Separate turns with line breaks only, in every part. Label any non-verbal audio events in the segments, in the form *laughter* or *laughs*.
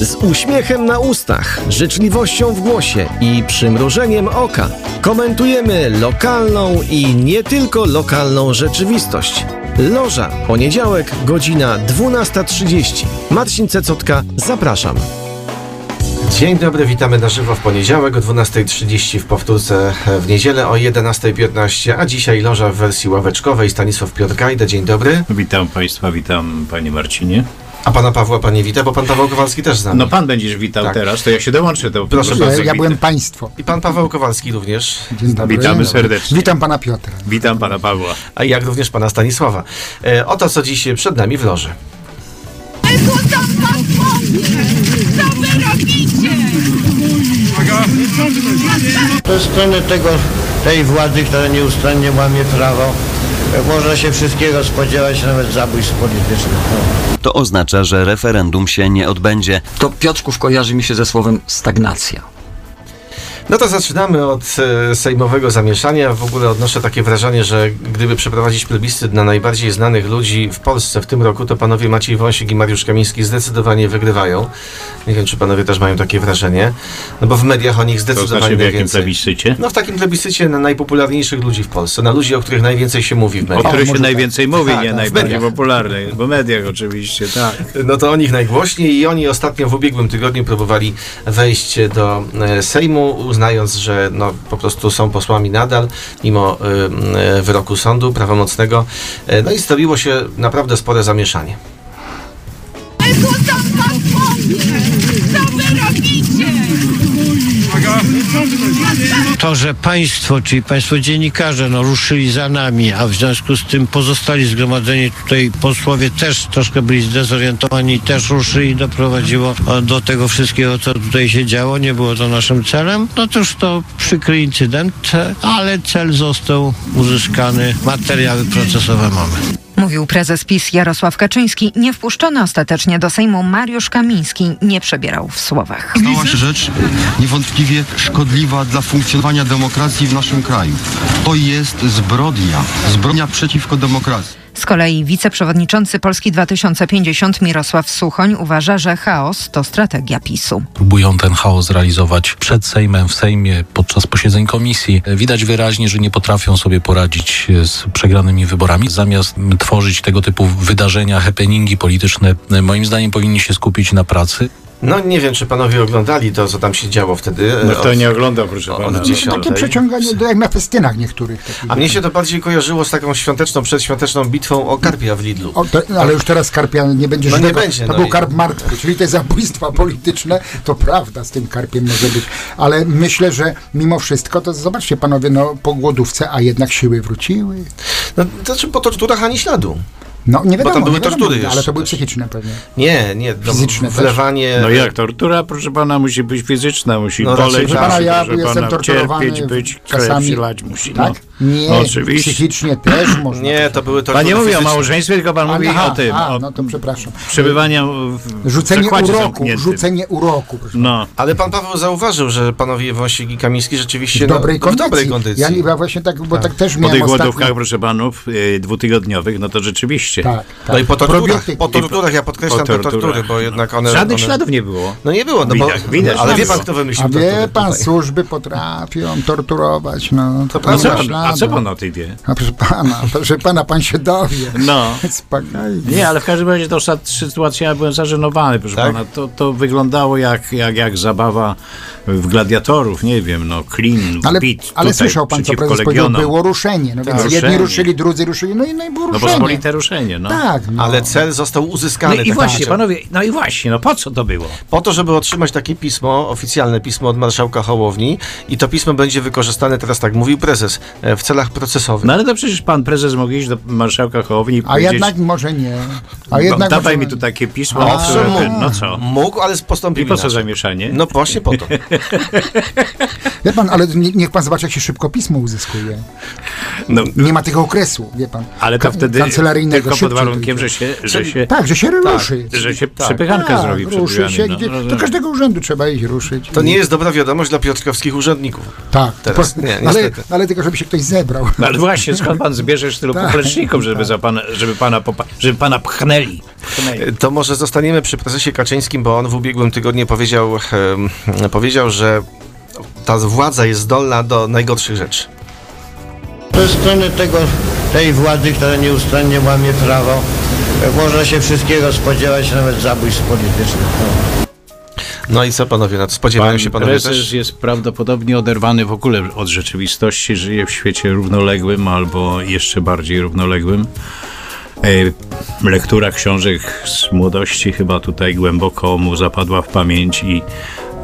Z uśmiechem na ustach, życzliwością w głosie i przymrużeniem oka komentujemy lokalną i nie tylko lokalną rzeczywistość. Loża, poniedziałek, godzina 12.30. Marcin Cecotka, zapraszam. Dzień dobry, witamy na żywo w poniedziałek o 12.30 w powtórce e, w niedzielę o 11.15, a dzisiaj loża w wersji ławeczkowej. Stanisław Piotrkajda, dzień dobry.
Witam Państwa, witam Panie Marcinie.
A pana Pawła pan nie wita, bo pan Paweł Kowalski też znam.
No Pan będziesz witał
Tak.
teraz, to ja się dołączę do...
Proszę
do-
bardzo,
do-
Ja, ja
wit-
byłem państwo.
I pan Paweł Kowalski również.
Dzień dobry.
Witamy serdecznie.
Witam pana Piotra.
Witam Pana Pawła. znaczy,
a jak również pana Stanisława. E, Oto co dziś przed nami w loży.
ze strony tego, tej władzy, która nieustannie łamie prawo, można się wszystkiego spodziewać, nawet zabójstw politycznych.
To oznacza, że referendum się nie odbędzie.
to Piotrków kojarzy mi się ze słowem stagnacja.
No to zaczynamy od e, sejmowego zamieszania. W ogóle odnoszę takie wrażenie, że gdyby przeprowadzić plebiscyt na najbardziej znanych ludzi w Polsce w tym roku, to panowie Maciej Wąsik i Mariusz Kamiński zdecydowanie wygrywają. Nie wiem, czy panowie też mają takie wrażenie, no bo w mediach o nich
To
zdecydowanie
znaczy w jakim
najwięcej.
plebiscycie?
No w takim plebiscycie na najpopularniejszych ludzi w Polsce, na ludzi, o których najwięcej się mówi w
O
no,
mediach.
których się najwięcej mówi,
Tak,
nie
tak, w
najbardziej
mediach.
popularny, bo w mediach oczywiście, tak.
No to o nich najgłośniej i oni ostatnio w ubiegłym tygodniu próbowali wejść do e, Sejmu, uznając, że no, po prostu są posłami nadal, mimo e, e, wyroku sądu prawomocnego. E, No i zrobiło się naprawdę spore zamieszanie.
To, że państwo, czyli państwo dziennikarze, no, ruszyli za nami, a w związku z tym pozostali zgromadzeni tutaj posłowie też troszkę byli zdezorientowani, też ruszyli i doprowadziło e, do tego wszystkiego, co tutaj się działo. Nie było to naszym celem. No cóż, to przykry incydent, e, ale cel został uzyskany. Materiały procesowe mamy.
Mówił prezes PiS Jarosław Kaczyński, nie wpuszczony ostatecznie do Sejmu Mariusz Kamiński nie przebierał w słowach.
Stała się rzecz niewątpliwie szkodliwa dla funkcjonowania demokracji w naszym kraju. To jest zbrodnia. Zbrodnia przeciwko demokracji.
Z kolei wiceprzewodniczący Polski 2050 Mirosław Suchoń uważa, że chaos to strategia PiSu.
próbują ten chaos realizować przed Sejmem, w Sejmie, podczas posiedzeń komisji. Widać wyraźnie, że nie potrafią sobie poradzić e, z przegranymi wyborami. Zamiast m, tworzyć tego typu wydarzenia, happeningi polityczne, e, moim zdaniem powinni się skupić na pracy.
No nie wiem, czy panowie oglądali to, co tam się działo wtedy. e,
No to
od-
nie oglądam, proszę
od
Pana.
dziesiątej.
No
Okej.
Takie przeciąganie do jak na festynach niektórych. Takich.
tak? A mnie się to bardziej kojarzyło z taką świąteczną, przedświąteczną bitwą o karpia w Lidlu.
O, to, ale już teraz karpia nie będzie
No nie
żywego.
będzie,
To
no
był
i-
karp martwy, czyli te zabójstwa polityczne, to prawda, z tym karpiem może być. Ale myślę, że mimo wszystko, to zobaczcie panowie, no po głodówce, a jednak siły wróciły.
No, to znaczy po torturach ani śladu.
No nie wiadomo,
tam były
nie wiadomo,
tortury jeszcze
ale to były
też.
psychiczne pewnie.
Nie, nie. no,
Fizyczne też?
Wlewanie...
No jak, tortura, proszę Pana, musi być fizyczna, musi
No raczej
boleć,
tak.
musi,
Pana, ja
proszę
jestem
Pana,
torturowany
cierpieć, być, krew
czasami.
się lać musi, no.
Tak? Nie,
No, oczywiście. *clears throat*
psychicznie też można.
Nie, to były tortury
Pan nie mówi o
fizyczne.
małżeństwie, tylko Pan mówi
Aha,
o tym,
a,
o
no to przepraszam.
przebywania w
Rzucenie
zakładzie
uroku,
zamkniętym.
rzucenie uroku. proszę.
No.
Ale pan Paweł zauważył, że panowie Wąsik i Kamiński rzeczywiście
W dobrej,
no,
kondycji.
w dobrej kondycji.
Ja, nie- ja właśnie tak, bo tak, też
Po
miałem
tych
ostatnio-
głodówkach, proszę panów, y, dwutygodniowych, no to rzeczywiście.
Tak, tak.
No i po torturach,
Probiotyki.
po torturach, ja podkreślam
po
te tortury,
torturach,
bo
no.
jednak one...
Żadnych
one...
śladów nie było.
No nie było, no bo...
Widać, widać,
ale
nie
wie
było.
pan, kto wymyślił
A wie
tortury
pan,
tutaj?
służby potrafią torturować, no. To
A
prawda.
co,
nie ma
pan, a co
śladu.
pan o tym wie?
A proszę pana, proszę pana, pan się dowie.
No.
*laughs* Spokojnie.
Nie, ale w każdym razie to sat- sytuacja, ja byłem zażenowany, proszę
Tak?
pana. To, to wyglądało jak, jak, jak zabawa w gladiatorów, nie wiem, no, klin,
Ale,
bit.
ale
tutaj
słyszał pan, co
przeciwko
prezes powiedział,
Legionom.
było ruszenie. No więc
Ruszenie.
jedni ruszyli, drudzy ruszyli, no i, no i było
No
ruszenie.
pospolite ruszenie, no.
Tak, no.
Ale cel został uzyskany.
No i
tak
właśnie,
życzę.
panowie, no i właśnie, no po co to było?
Po to, żeby otrzymać takie pismo, oficjalne pismo od marszałka Hołowni i to pismo będzie wykorzystane, teraz tak mówił prezes, e, w celach procesowych.
No ale to przecież pan prezes mógł iść do marszałka Hołowni i
A
powiedzieć...
jednak może nie. A
"No,
jednak
Dawaj
może...
mi tu takie pismo,
A owszem,
które-
mógł.
no co?
Mógł, ale postąpił
I po co
inaczej.
zamieszanie?
No właśnie po to.
Wie pan, ale nie- niech pan zobaczy, jak się szybko pismo uzyskuje.
No,
Nie ma tego okresu, wie pan.
Ale to
Ka-
wtedy
Kancelaryjnego
tylko pod
szybciej
warunkiem, że
dojdzie.
się, że się...
Tak, że się
tak,
ruszy.
Że się
Tak.
przepychanka
Tak,
zrobi przed
ruszy
drzwiami.
się,
no,
gdzie, do
rozumiem.
każdego urzędu trzeba iść ruszyć.
*laughs*
To nie jest dobra wiadomość dla piotrkowskich urzędników.
Tak,
Teraz,
po-
nie,
ale,
niestety.
ale tylko, żeby się ktoś zebrał.
No, ale właśnie, skąd pan zbierzesz tylu
Tak.
popleczników, żeby, za pana, żeby, pana popa- żeby pana pchnęli? pchnęli.
To może zostaniemy przy prezesie Kaczyńskim, bo on w ubiegłym tygodniu
e,
powiedział, em, powiedział że ta władza jest zdolna do najgorszych rzeczy.
Ze strony tego, tej władzy, która nieustannie łamie prawo, e, można się wszystkiego spodziewać, nawet zabójstw politycznych. No.
No i co panowie, na to spodziewają się panowie
prezes
też?
jest prawdopodobnie oderwany w ogóle od rzeczywistości, żyje w świecie równoległym albo jeszcze bardziej równoległym. E, Lektura książek z młodości chyba tutaj głęboko mu zapadła w pamięć i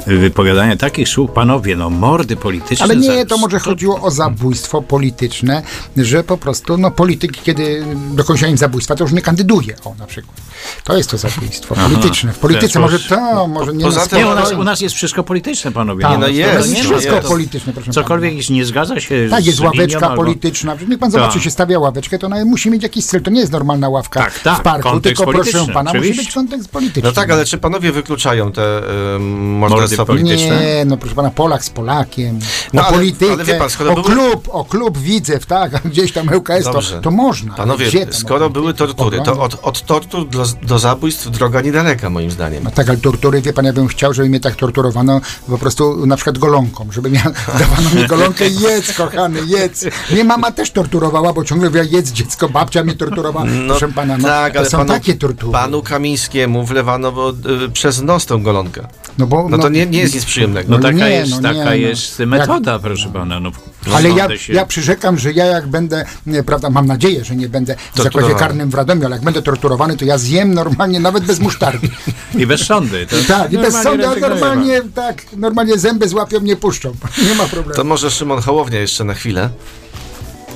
wypowiadanie takich słów, panowie, no mordy polityczne.
Ale
za-
nie, to może chodziło o zabójstwo polityczne, że po prostu no, polityk, kiedy dokończa im zabójstwa, to już nie kandyduje, o na przykład. To jest to zabójstwo
Aha.
polityczne. W
Ten
polityce może
sposób.
to, może nie...
Poza
no,
tym-
Nie, u nas,
spokojnie.
u nas jest wszystko polityczne, panowie.
Tak,
no
to
jest,
nie
jest
ma-
wszystko
to-
polityczne, proszę
Cokolwiek jeśli nie zgadza się
Tak,
z
jest
linią
ławeczka
albo-
polityczna. Niech pan
Tak.
zobaczy, się stawia ławeczkę, to ona musi mieć jakiś cel. To nie jest normalna ławka
Tak, tak,
w parku,
kontekst
tylko proszę
polityczny,
pana, musi być
oczywiście.
kontekst polityczny.
No tak, ale czy panowie wykluczają te um,
Mordy
morderstwa
polityczne?
polityczne?
Nie, no proszę pana, Polak z Polakiem,
No
o
ale-
politykę,
ale wie pan, skoro
o
były-
klub, o klub Widzew, tak, a gdzieś tam ŁKS, to,
Dobrze.
to można.
Panowie,
Gdzie tam
skoro
można?
były tortury, to
Oglądać.
od, od tortur do, do zabójstw droga niedaleka moim zdaniem.
No tak, ale tortury, wie pan, ja bym chciał, żeby mnie tak torturowano po prostu na przykład golonką, żeby ja,
*laughs*
dawano mi golonkę, jedz, kochany, jedz. Mnie mama też torturowała, bo ciągle mówiła, jedz dziecko, babcia mnie torturowała, proszę pana, no,
tak,
to
ale
są
panu,
takie tortury.
panu Kamińskiemu wlewano bo, y, przez nos tą golonkę.
no, bo,
No to nie, nie jest nic przyjemnego.
No
No
taka
nie,
jest,
no nie,
taka
no.
jest metoda, proszę pana. No,
Ale ja,
rozglądę się.
ja przyrzekam, że ja jak będę, nie, prawda, mam nadzieję, że nie będę w zakładzie
Torturowany.
karnym w Radomiu, ale jak będę torturowany, to ja zjem normalnie, nawet bez
*laughs*
musztardy.
I bez sądy. To
Tak, i bez
normalnie
sądu, a
rezygnujemy.
normalnie, tak, normalnie zęby złapią, nie puszczą. *laughs* Nie ma problemu.
To może Szymon Hołownia jeszcze na chwilę.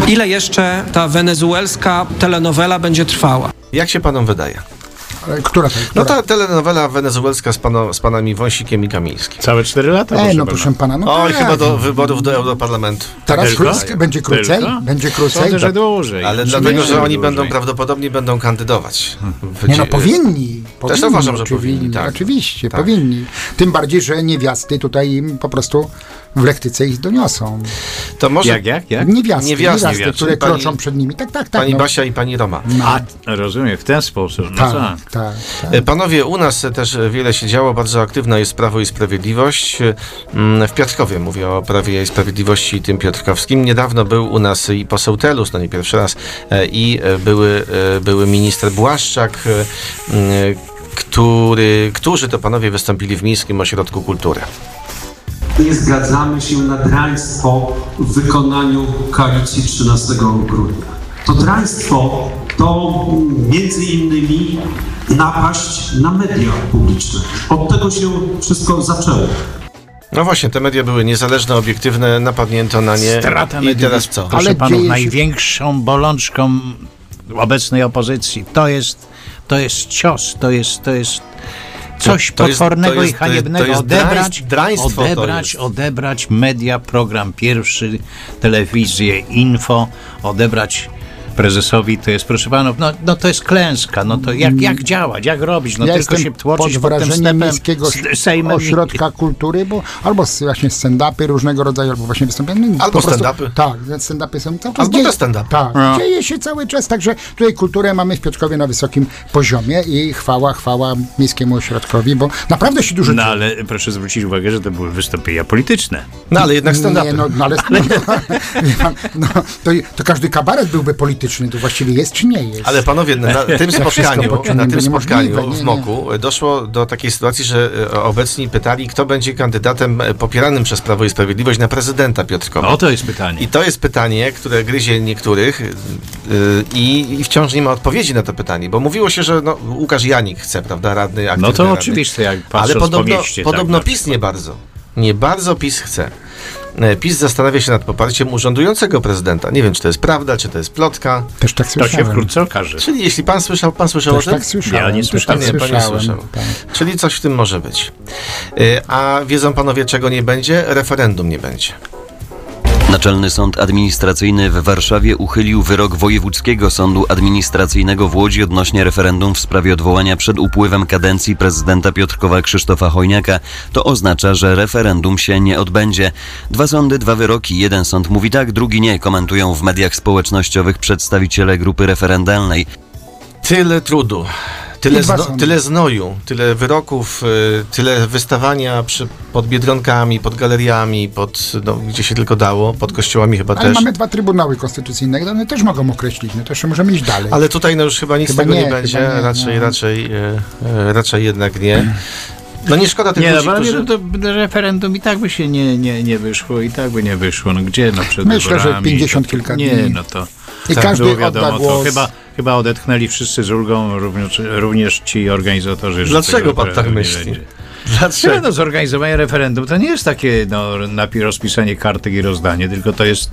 Ile jeszcze ta wenezuelska telenowela będzie trwała?
Jak się panom wydaje?
Ale Która to jest?
No
która?
ta telenowela wenezuelska z, pano, z panami Wąsikiem i Kamińskim.
Całe cztery lata.
E,
proszę
no
pana.
proszę pana, no
Oj,
tak.
chyba do wyborów do Europarlamentu.
Teraz
Tylko?
krótki, będzie krócej,
Tylko?
będzie krócej.
Sądzę, że dłużej.
Ale
Czy
dlatego,
nie?
że oni
Dłużej.
będą prawdopodobnie będą kandydować. W-
Nie no, powinni. powinni
uważam, że
oczywiście,
powinni, tak.
Oczywiście,
Tak.
powinni. Tym bardziej, że niewiasty tutaj im po prostu w lektyce ich doniosą.
To może
Jak, jak, jak?
Niewiasty,
Niewiasty,
niewiasty,
niewiasty.
które
Pani-
kroczą przed nimi. Tak, tak, tak.
pani
no.
Basia i pani Roma.
A, no rozumiem, w ten sposób. No tak.
tak, tak, tak.
E, Panowie, u nas e, też e, wiele się działo, bardzo aktywna jest Prawo i Sprawiedliwość. E, mm, W Piotrkowie mówię o Prawie i Sprawiedliwości i tym Piotrkowskim. Niedawno był u nas i poseł Telus, no nie pierwszy raz, e, i e, były, e, były minister Błaszczak, e, mm, który, którzy to panowie wystąpili w Miejskim Ośrodku Kultury.
Nie zgadzamy się na draństwo w wykonaniu koalicji 13 grudnia. To draństwo to mm, między innymi napaść na media publiczne. Od tego się wszystko zaczęło.
No właśnie, te media były niezależne, obiektywne, napadnięto na nie.
Strata
I
mediów
teraz
jest,
co?
Proszę no
Ale
panów,
dzieje się-
największą bolączką obecnej opozycji to jest, to jest cios, to jest, to jest coś
To jest- to
potwornego
jest-
i
to jest-
haniebnego.
to jest
odebrać,
draństw- draństwo to
odebrać,
jest.
odebrać media, program pierwszy, telewizję, info, odebrać prezesowi, to jest, proszę panów, no, no to jest klęska, no to jak, jak działać, jak robić, no
Mm. ja
tylko
jestem
się tłoczyć pod
pod
tym
wrażeniem
stepem,
miejskiego
s- sejmem i-
ośrodka kultury, bo albo z- właśnie stand-upy różnego rodzaju, albo właśnie wystąpienia. No,
Albo
po prostu-
stand-upy.
Tak, stand-upy są cały czas.
Albo
dzieje,
bez stand-upu.
Tak,
No.
dzieje się cały czas, także tutaj kulturę mamy w Piotrkowie na wysokim poziomie i chwała, chwała Miejskiemu Ośrodkowi, bo naprawdę się dużo
No
dzieje.
ale proszę zwrócić uwagę, że to były wystąpienia polityczne.
No ale jednak stand-upy.
Nie, no, no, ale, *laughs* wie pan, no, to, to każdy kabaret byłby polityczny, to właściwie jest czy nie jest.
Ale
*laughs*
panowie, na
Ja
tym
wszystko
spotkaniu,
poczułem,
na tym
niemożliwe,
spotkaniu
nie,
w
nie.
Moku e, doszło do takiej sytuacji, że e, obecni pytali, kto będzie kandydatem e, popieranym przez Prawo i Sprawiedliwość na prezydenta Piotrkowa.
O, to jest pytanie.
I to jest pytanie, które gryzie niektórych y, y, i, i wciąż nie ma odpowiedzi na to pytanie, bo mówiło się, że no, Łukasz Janik chce, prawda, radny, aktywny
No to
radny.
oczywiście, jak
tak Ale
patrząc
podobno,
po mieście.
podobno
tak,
PiS nie bardzo. Nie bardzo PiS chce. E, PiS zastanawia się nad poparciem urzędującego prezydenta. Nie wiem, czy to jest prawda, czy to jest plotka.
Też tak
To
słyszałem.
się wkrótce okaże.
Czyli jeśli pan słyszał, pan słyszał
Też
o tym?
tak słyszałem.
Ja nie
też
słyszałem,
tak
nie, pan nie
słyszałem,
słyszał.
tak.
Czyli coś w tym może E, być. Y, A wiedzą panowie, czego nie będzie? Referendum nie będzie.
Naczelny Sąd Administracyjny w Warszawie uchylił wyrok Wojewódzkiego Sądu Administracyjnego w Łodzi odnośnie referendum w sprawie odwołania przed upływem kadencji prezydenta Piotrkowa Krzysztofa Hojniaka. To oznacza, że referendum się nie odbędzie. Dwa sądy, dwa wyroki. Jeden sąd mówi tak, drugi nie, komentują w mediach społecznościowych przedstawiciele grupy referendalnej.
Tyle trudu. Tyle,
I dwa
zno,
sądy.
tyle znoju, tyle wyroków, y, tyle wystawania przy, pod biedronkami, pod galeriami, pod, no, gdzie się tylko dało, pod kościołami chyba
Ale
też.
mamy dwa trybunały konstytucyjne, które one też mogą określić, no to jeszcze możemy iść dalej.
Ale tutaj no już chyba nic z
Chyba
tego nie,
nie, chyba
będzie,
nie,
raczej,
no.
raczej, y, y, raczej jednak nie. No nie szkoda tych
Nie,
ludzi,
no, ale
którzy...
to referendum i tak by się nie, nie, nie wyszło, i tak by nie wyszło. No gdzie no przed
Myślę, że
wyborami?
50 kilka
Nie,
dni.
no to...
I
tak
każdy
było
odda
wiadomo, to
głos.
chyba, chyba odetchnęli wszyscy z ulgą, również, również ci organizatorzy. że
Dlaczego
tego
pan tak
referendum nie
myśli?
będzie.
Dlaczego?
Nie, no, zorganizowanie referendum to nie jest takie no, napi- rozpisanie kartek i rozdanie, tylko to jest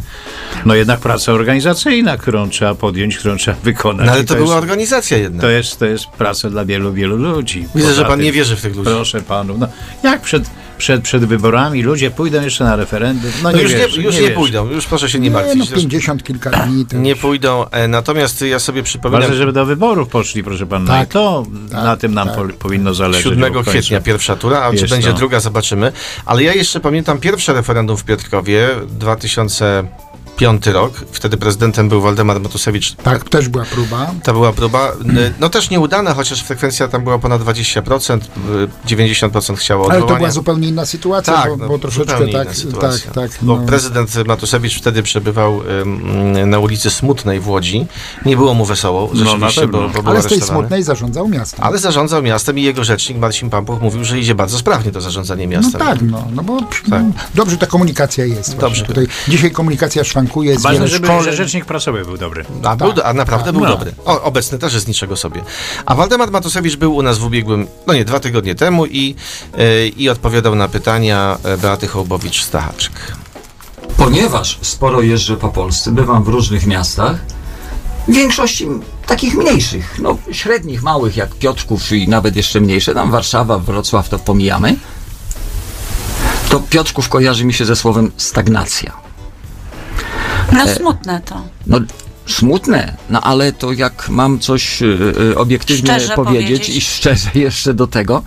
no, jednak praca organizacyjna, którą trzeba podjąć, którą trzeba wykonać.
*laughs* No, ale
I
to była organizacja jednak.
No. To jest, to jest praca dla wielu, wielu ludzi.
Widzę,
Poza
że pan
tym-
nie wierzy w tych ludzi.
Proszę panów, no, jak przed, przed, przed wyborami ludzie pójdą jeszcze na referendum? No,
No
nie
już nie-
wierzę,
już nie
wierzę.
pójdą, już proszę się nie
Nie,
martwić.
no
Zresztą-
50 kilka dni. To...
Nie pójdą. E, Natomiast ja sobie przypominam...
Ważne, żeby do wyborów poszli, proszę pana.
Tak.
I to na tym nam po, powinno zależeć.
7
bo w końcu
kwietnia pierwsza tura, a czy
jest
no.
będzie
to-
druga, zobaczymy. Ale ja jeszcze pamiętam pierwsze referendum w Piotrkowie, 2005 rok. Wtedy prezydentem był Waldemar Matusewicz.
Tak, też była próba.
To była próba, n- no też nieudana, chociaż frekwencja tam była ponad 20%, y, 90% chciało
Ale to
odwołania.
była zupełnie inna sytuacja,
Tak,
bo,
no,
bo troszeczkę
zupełnie
tak,
inna sytuacja.
tak, tak.
Bo
no.
prezydent Matusewicz wtedy przebywał ym, na ulicy Smutnej w Łodzi. Nie było mu wesoło,
No, na
rzeczywiście,
pewno.
bo, bo był
Ale z tej
aresztowany.
smutnej zarządzał miastem.
Ale zarządzał miastem i jego rzecznik Marcin Pampuch mówił, że idzie bardzo sprawnie to zarządzanie
No
miastem.
tak, no, no bo no, dobrze ta komunikacja jest. Dobrze. Tutaj, dzisiaj komunikacja szwankuje, jest
Ważne,
wiele
żeby
szkole.
że rzecznik prasowy był dobry.
A, był, a naprawdę
tak.
był
No.
dobry. O, obecny też jest niczego sobie. A Waldemar Matusewicz był u nas w ubiegłym, no nie, dwa tygodnie temu i, e, i odpowiadał na pytania e, Beaty Hołbowicz-Stachaczek.
Ponieważ sporo jeżdżę po Polsce, bywam w różnych miastach, w większości takich mniejszych, no średnich, małych jak Piotrków i nawet jeszcze mniejsze, tam Warszawa, Wrocław to pomijamy, to Piotrków kojarzy mi się ze słowem stagnacja.
No
E,
smutne to.
No smutne, no ale to jak mam coś e, e, obiektywnie
Szczerze
powiedzieć,
powiedzieć.
i szczerze *laughs* jeszcze do tego,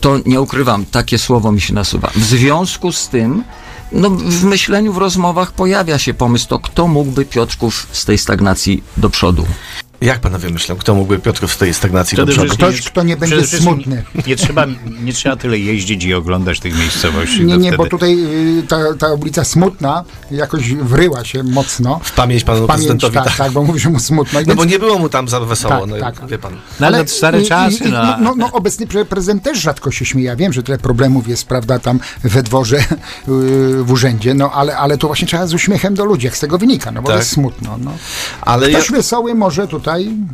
to nie ukrywam, takie słowo mi się nasuwa. W związku z tym, no w myśleniu, w rozmowach pojawia się pomysł, to kto mógłby Piotrków z tej stagnacji do przodu?
Jak panowie myślą, kto mógłby Piotrków z tej stagnacji
Przede
do przodu?
wszystkim
Ktoś, kto nie będzie
przede wszystkim
smutny.
Nie trzeba, nie trzeba tyle jeździć i oglądać tych miejscowości.
Nie,
to
nie,
wtedy-
bo tutaj y, ta, ta ulica smutna jakoś wryła się mocno. W
pamięć panu prezydentowi,
tak,
tak.
tak, bo mówi, że mu smutno. i
No
więc-
bo nie było mu tam za wesoło,
Tak,
no,
tak.
wie pan.
No, ale stare
i- i-
czasy,
i-
no.
No, no, no obecny pre- prezydent też rzadko się śmieje. Ja wiem, że tyle problemów jest, prawda, tam we dworze, y, w urzędzie, no ale, ale to właśnie trzeba z uśmiechem do ludzi, jak z tego wynika, no bo
Tak.
to jest smutno. No.
Ale
Ktoś
ja-
wesoły może tutaj...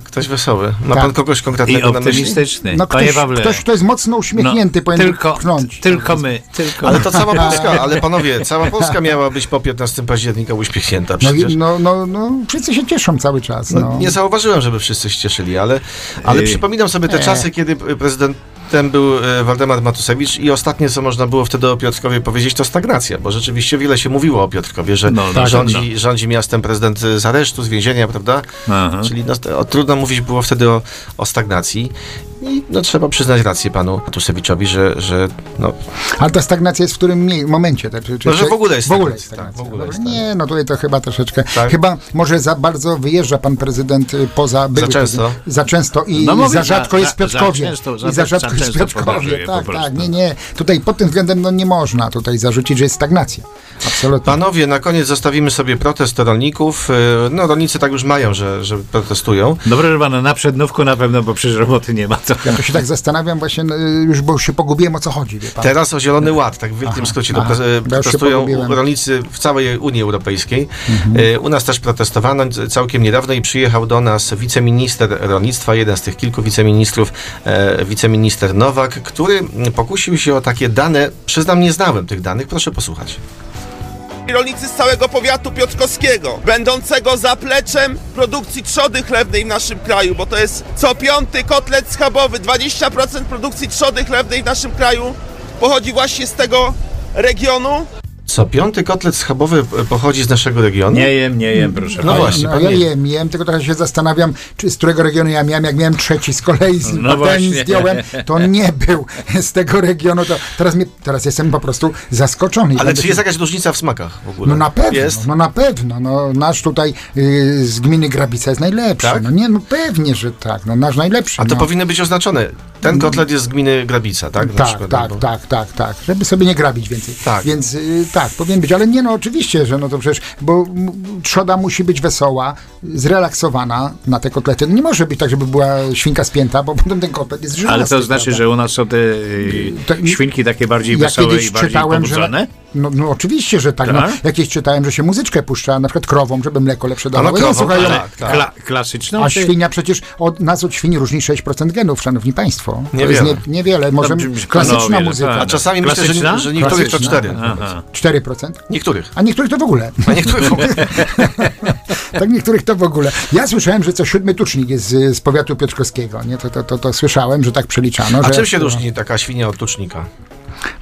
ktoś wesoły. Ma
Tak.
pan kogoś konkretnego
I
na myśli?
optymistyczny.
No,
Panie
ktoś,
Pawle.
ktoś, kto jest mocno uśmiechnięty,
No,
powinien
tylko-
pchnąć.
Tylko my, tylko
Ale to
*laughs*
cała Polska, ale panowie, cała Polska miała być po 15 października uśmiechnięta
No,
przecież.
i- no, no, no, wszyscy się cieszą cały czas. No.
No, nie zauważyłem, żeby wszyscy się cieszyli, ale, ale
Yy.
przypominam sobie te
Nie.
czasy, kiedy prezydentem był e, Waldemar Matusewicz i ostatnie, co można było wtedy o Piotrkowie powiedzieć, to stagnacja, bo rzeczywiście wiele się mówiło o Piotrkowie, że
No, tak,
rządzi, rządzi miastem prezydent z aresztu, z więzienia, prawda?
Aha.
Czyli no, to- o, trudno mówić było wtedy o, o stagnacji. I no, trzeba przyznać rację panu Matusewiczowi, że, że no,
Ale ta stagnacja jest w którym mie- momencie? Tak? Czy, czy,
no, że w ogóle jest
w ogóle
stagnacja.
stagnacja.
Tak, w ogóle jest
Nie, no tutaj to chyba troszeczkę.
Tak.
Chyba może za bardzo wyjeżdża pan prezydent y, poza były
często.
prezydent- Za często i
No, mówię,
za
za-
rzadko jest w
za-
Piotrkowie.
za często, za-
I za
za
rzadko jest w
często
Piotrkowie.
podróżuje po
Tak,
prostu.
tak, nie, nie. Tutaj pod tym względem no, nie można tutaj zarzucić, że jest stagnacja. Absolutnie.
Panowie, na koniec zostawimy sobie protest rolników. Yy, No, rolnicy tak już mają, że, że protestują.
Dobrze, że pana na przednówku na pewno, bo przecież roboty nie ma. To...
No.
Ja to się tak zastanawiam właśnie, no, y, już bo się pogubiłem o co chodzi, wie pan.
Teraz o Zielony Ład, tak w wielkim
Aha,
skrócie.
aha.
No, pre-
Ja już się
protestują
pogubiłem.
rolnicy w całej Unii Europejskiej. E, U nas też protestowano c- całkiem niedawno i przyjechał do nas wiceminister rolnictwa, jeden z tych kilku wiceministrów, e, wiceminister Nowak, który mm, pokusił się o takie dane. Przyznam, nie znałem tych danych, proszę posłuchać.
Rolnicy z całego powiatu piotrkowskiego, będącego zapleczem produkcji trzody chlewnej w naszym kraju, bo to jest co piąty kotlet schabowy, 20% produkcji trzody chlewnej w naszym kraju pochodzi właśnie z tego regionu.
Co piąty kotlet schabowy pochodzi z naszego regionu?
Nie jem, nie jem, proszę
No
No
właśnie,
no,
pan
ja
nie-
jem, jem, tylko trochę się zastanawiam, czy z którego regionu ja miałem, jak miałem trzeci z kolei z
No
patelni
właśnie.
zdjąłem, to nie był z tego regionu, to teraz, mnie, teraz jestem po prostu zaskoczony.
Ale
Będę
czy
się-
jest jakaś różnica w smakach w ogóle?
No na pewno,
Jest?
no na pewno. No, nasz tutaj y, z gminy Grabica jest najlepszy.
Tak?
No nie, no pewnie, że tak. No nasz najlepszy.
A to
no.
powinno być oznaczone. Ten kotlet jest z gminy Grabica, tak? Na
Tak,
przykład,
tak,
albo-
tak, tak, tak. Żeby sobie nie grabić więcej. Tak. Więc y, tak, powinien być. Ale nie, no oczywiście, że no to przecież, bo m, trzoda musi być wesoła, zrelaksowana na te kotlety. No nie może być tak, żeby była świnka spięta, bo *laughs* potem ten kotlet jest
Ale
żelazny,
to znaczy,
prawda?
że u nas są te y,
Tak,
świnki takie bardziej wesołe i bardziej pobudzone?
No, no oczywiście, że tak. No,
Tak?
jakieś czytałem, że się muzyczkę puszcza, na przykład krową, żeby mleko lepsze dawało.
Ale
Ja,
krową,
Tak,
słuchaj,
ale
no,
kla, klasyczną?
a
czy-
świnia przecież od nas od świni różni 6% genów, szanowni państwo. To
Niewiele.
jest nie, niewiele. Może
Tam, że- no,
klasyczna
wiele,
muzyka.
tak. A czasami myślę, że- Klasyczna? że niektórych to
Klasyczna.
cztery. Aha.
4%?
Niektórych.
A niektórych to w ogóle. *laughs*
A niektórych w ogóle.
tak niektórych to w ogóle. Ja słyszałem, że co siódmy tucznik jest z, z powiatu piotrkowskiego. Nie? To, to, to, to słyszałem, że tak przeliczano.
A
że,
czym się różni taka świnia od tucznika?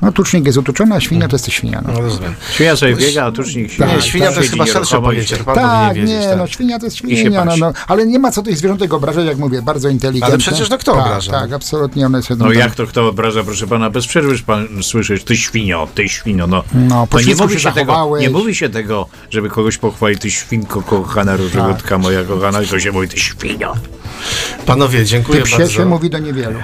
No tucznik jest utuczony, a
Mhm.
świnia to jest świnia. No.
No rozumiem.
Świnia sobie biega, a tucznik się...
Nie, Tak, świnia to jest
siedzi
chyba szersze
nieruchomo i
pojęcie.
się-
Pan
tak,
powinien wiedzieć,
nie,
tak.
no świnia to jest
I się
świnia, no,
patrzy.
no, ale nie ma co tych zwierzątek obrażać, jak mówię, bardzo inteligentne.
Ale przecież no kto
tak,
obraża?
Tak, absolutnie one są
No
tam-
jak to kto obraża, proszę pana, bez przerwy pan słyszysz, ty świnio, ty świnio, no.
No, po
to nie
świecku
mówi
się
się tego,
zachowałeś.
nie mówi się tego, żeby kogoś pochwalić, ty świnko kochana,
Tak.
różowotka moja kochana, tylko się mówi, ty świnio.
Panowie,
Ty
dziękuję
psie się
bardzo.
mówi do niewielu.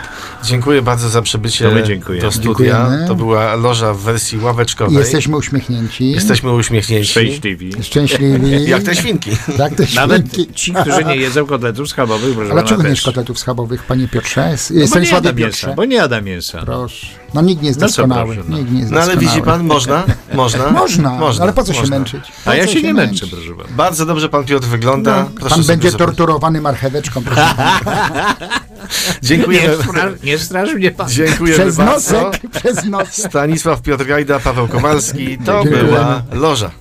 Dziękuję bardzo za przybycie
To my dziękujemy.
do studia.
Dziękujemy.
To była loża w wersji ławeczkowej.
Jesteśmy uśmiechnięci.
Jesteśmy uśmiechnięci.
Szczęśliwi. *laughs*
Szczęśliwi.
Jak te świnki.
Tak, te
Nawet
świnki.
ci, którzy nie jedzą kotletów schabowych, proszę
A dlaczego
pana,
nie
też.
z kotletów schabowych, panie Piotrze? S-
No bo nie
Stanisławie
jada
Piotrze.
mięsa, bo nie jada mięsa.
Proszę. No nikt nie jest
No co
doskonały.
proszę, no.
Nikt nie jest
No ale
doskonały.
widzi pan, można, można.
*laughs* Można,
Można,
ale po co się
można.
męczyć? Po
A ja
co
się nie męczę,
męczyć?
proszę pana. Bardzo dobrze pan Piotr wygląda. Proszę
No, Pan
sobie
będzie
zobaczyć.
torturowany marcheweczką,
*laughs*
proszę.
Dziękujemy.
Nie straż, nie straż mnie pan.
Dziękujemy
Przez
bardzo.
nosek, przez nosek.
Stanisław Piotr Gajda, Paweł Kowalski. To
Dziękujemy.
była loża.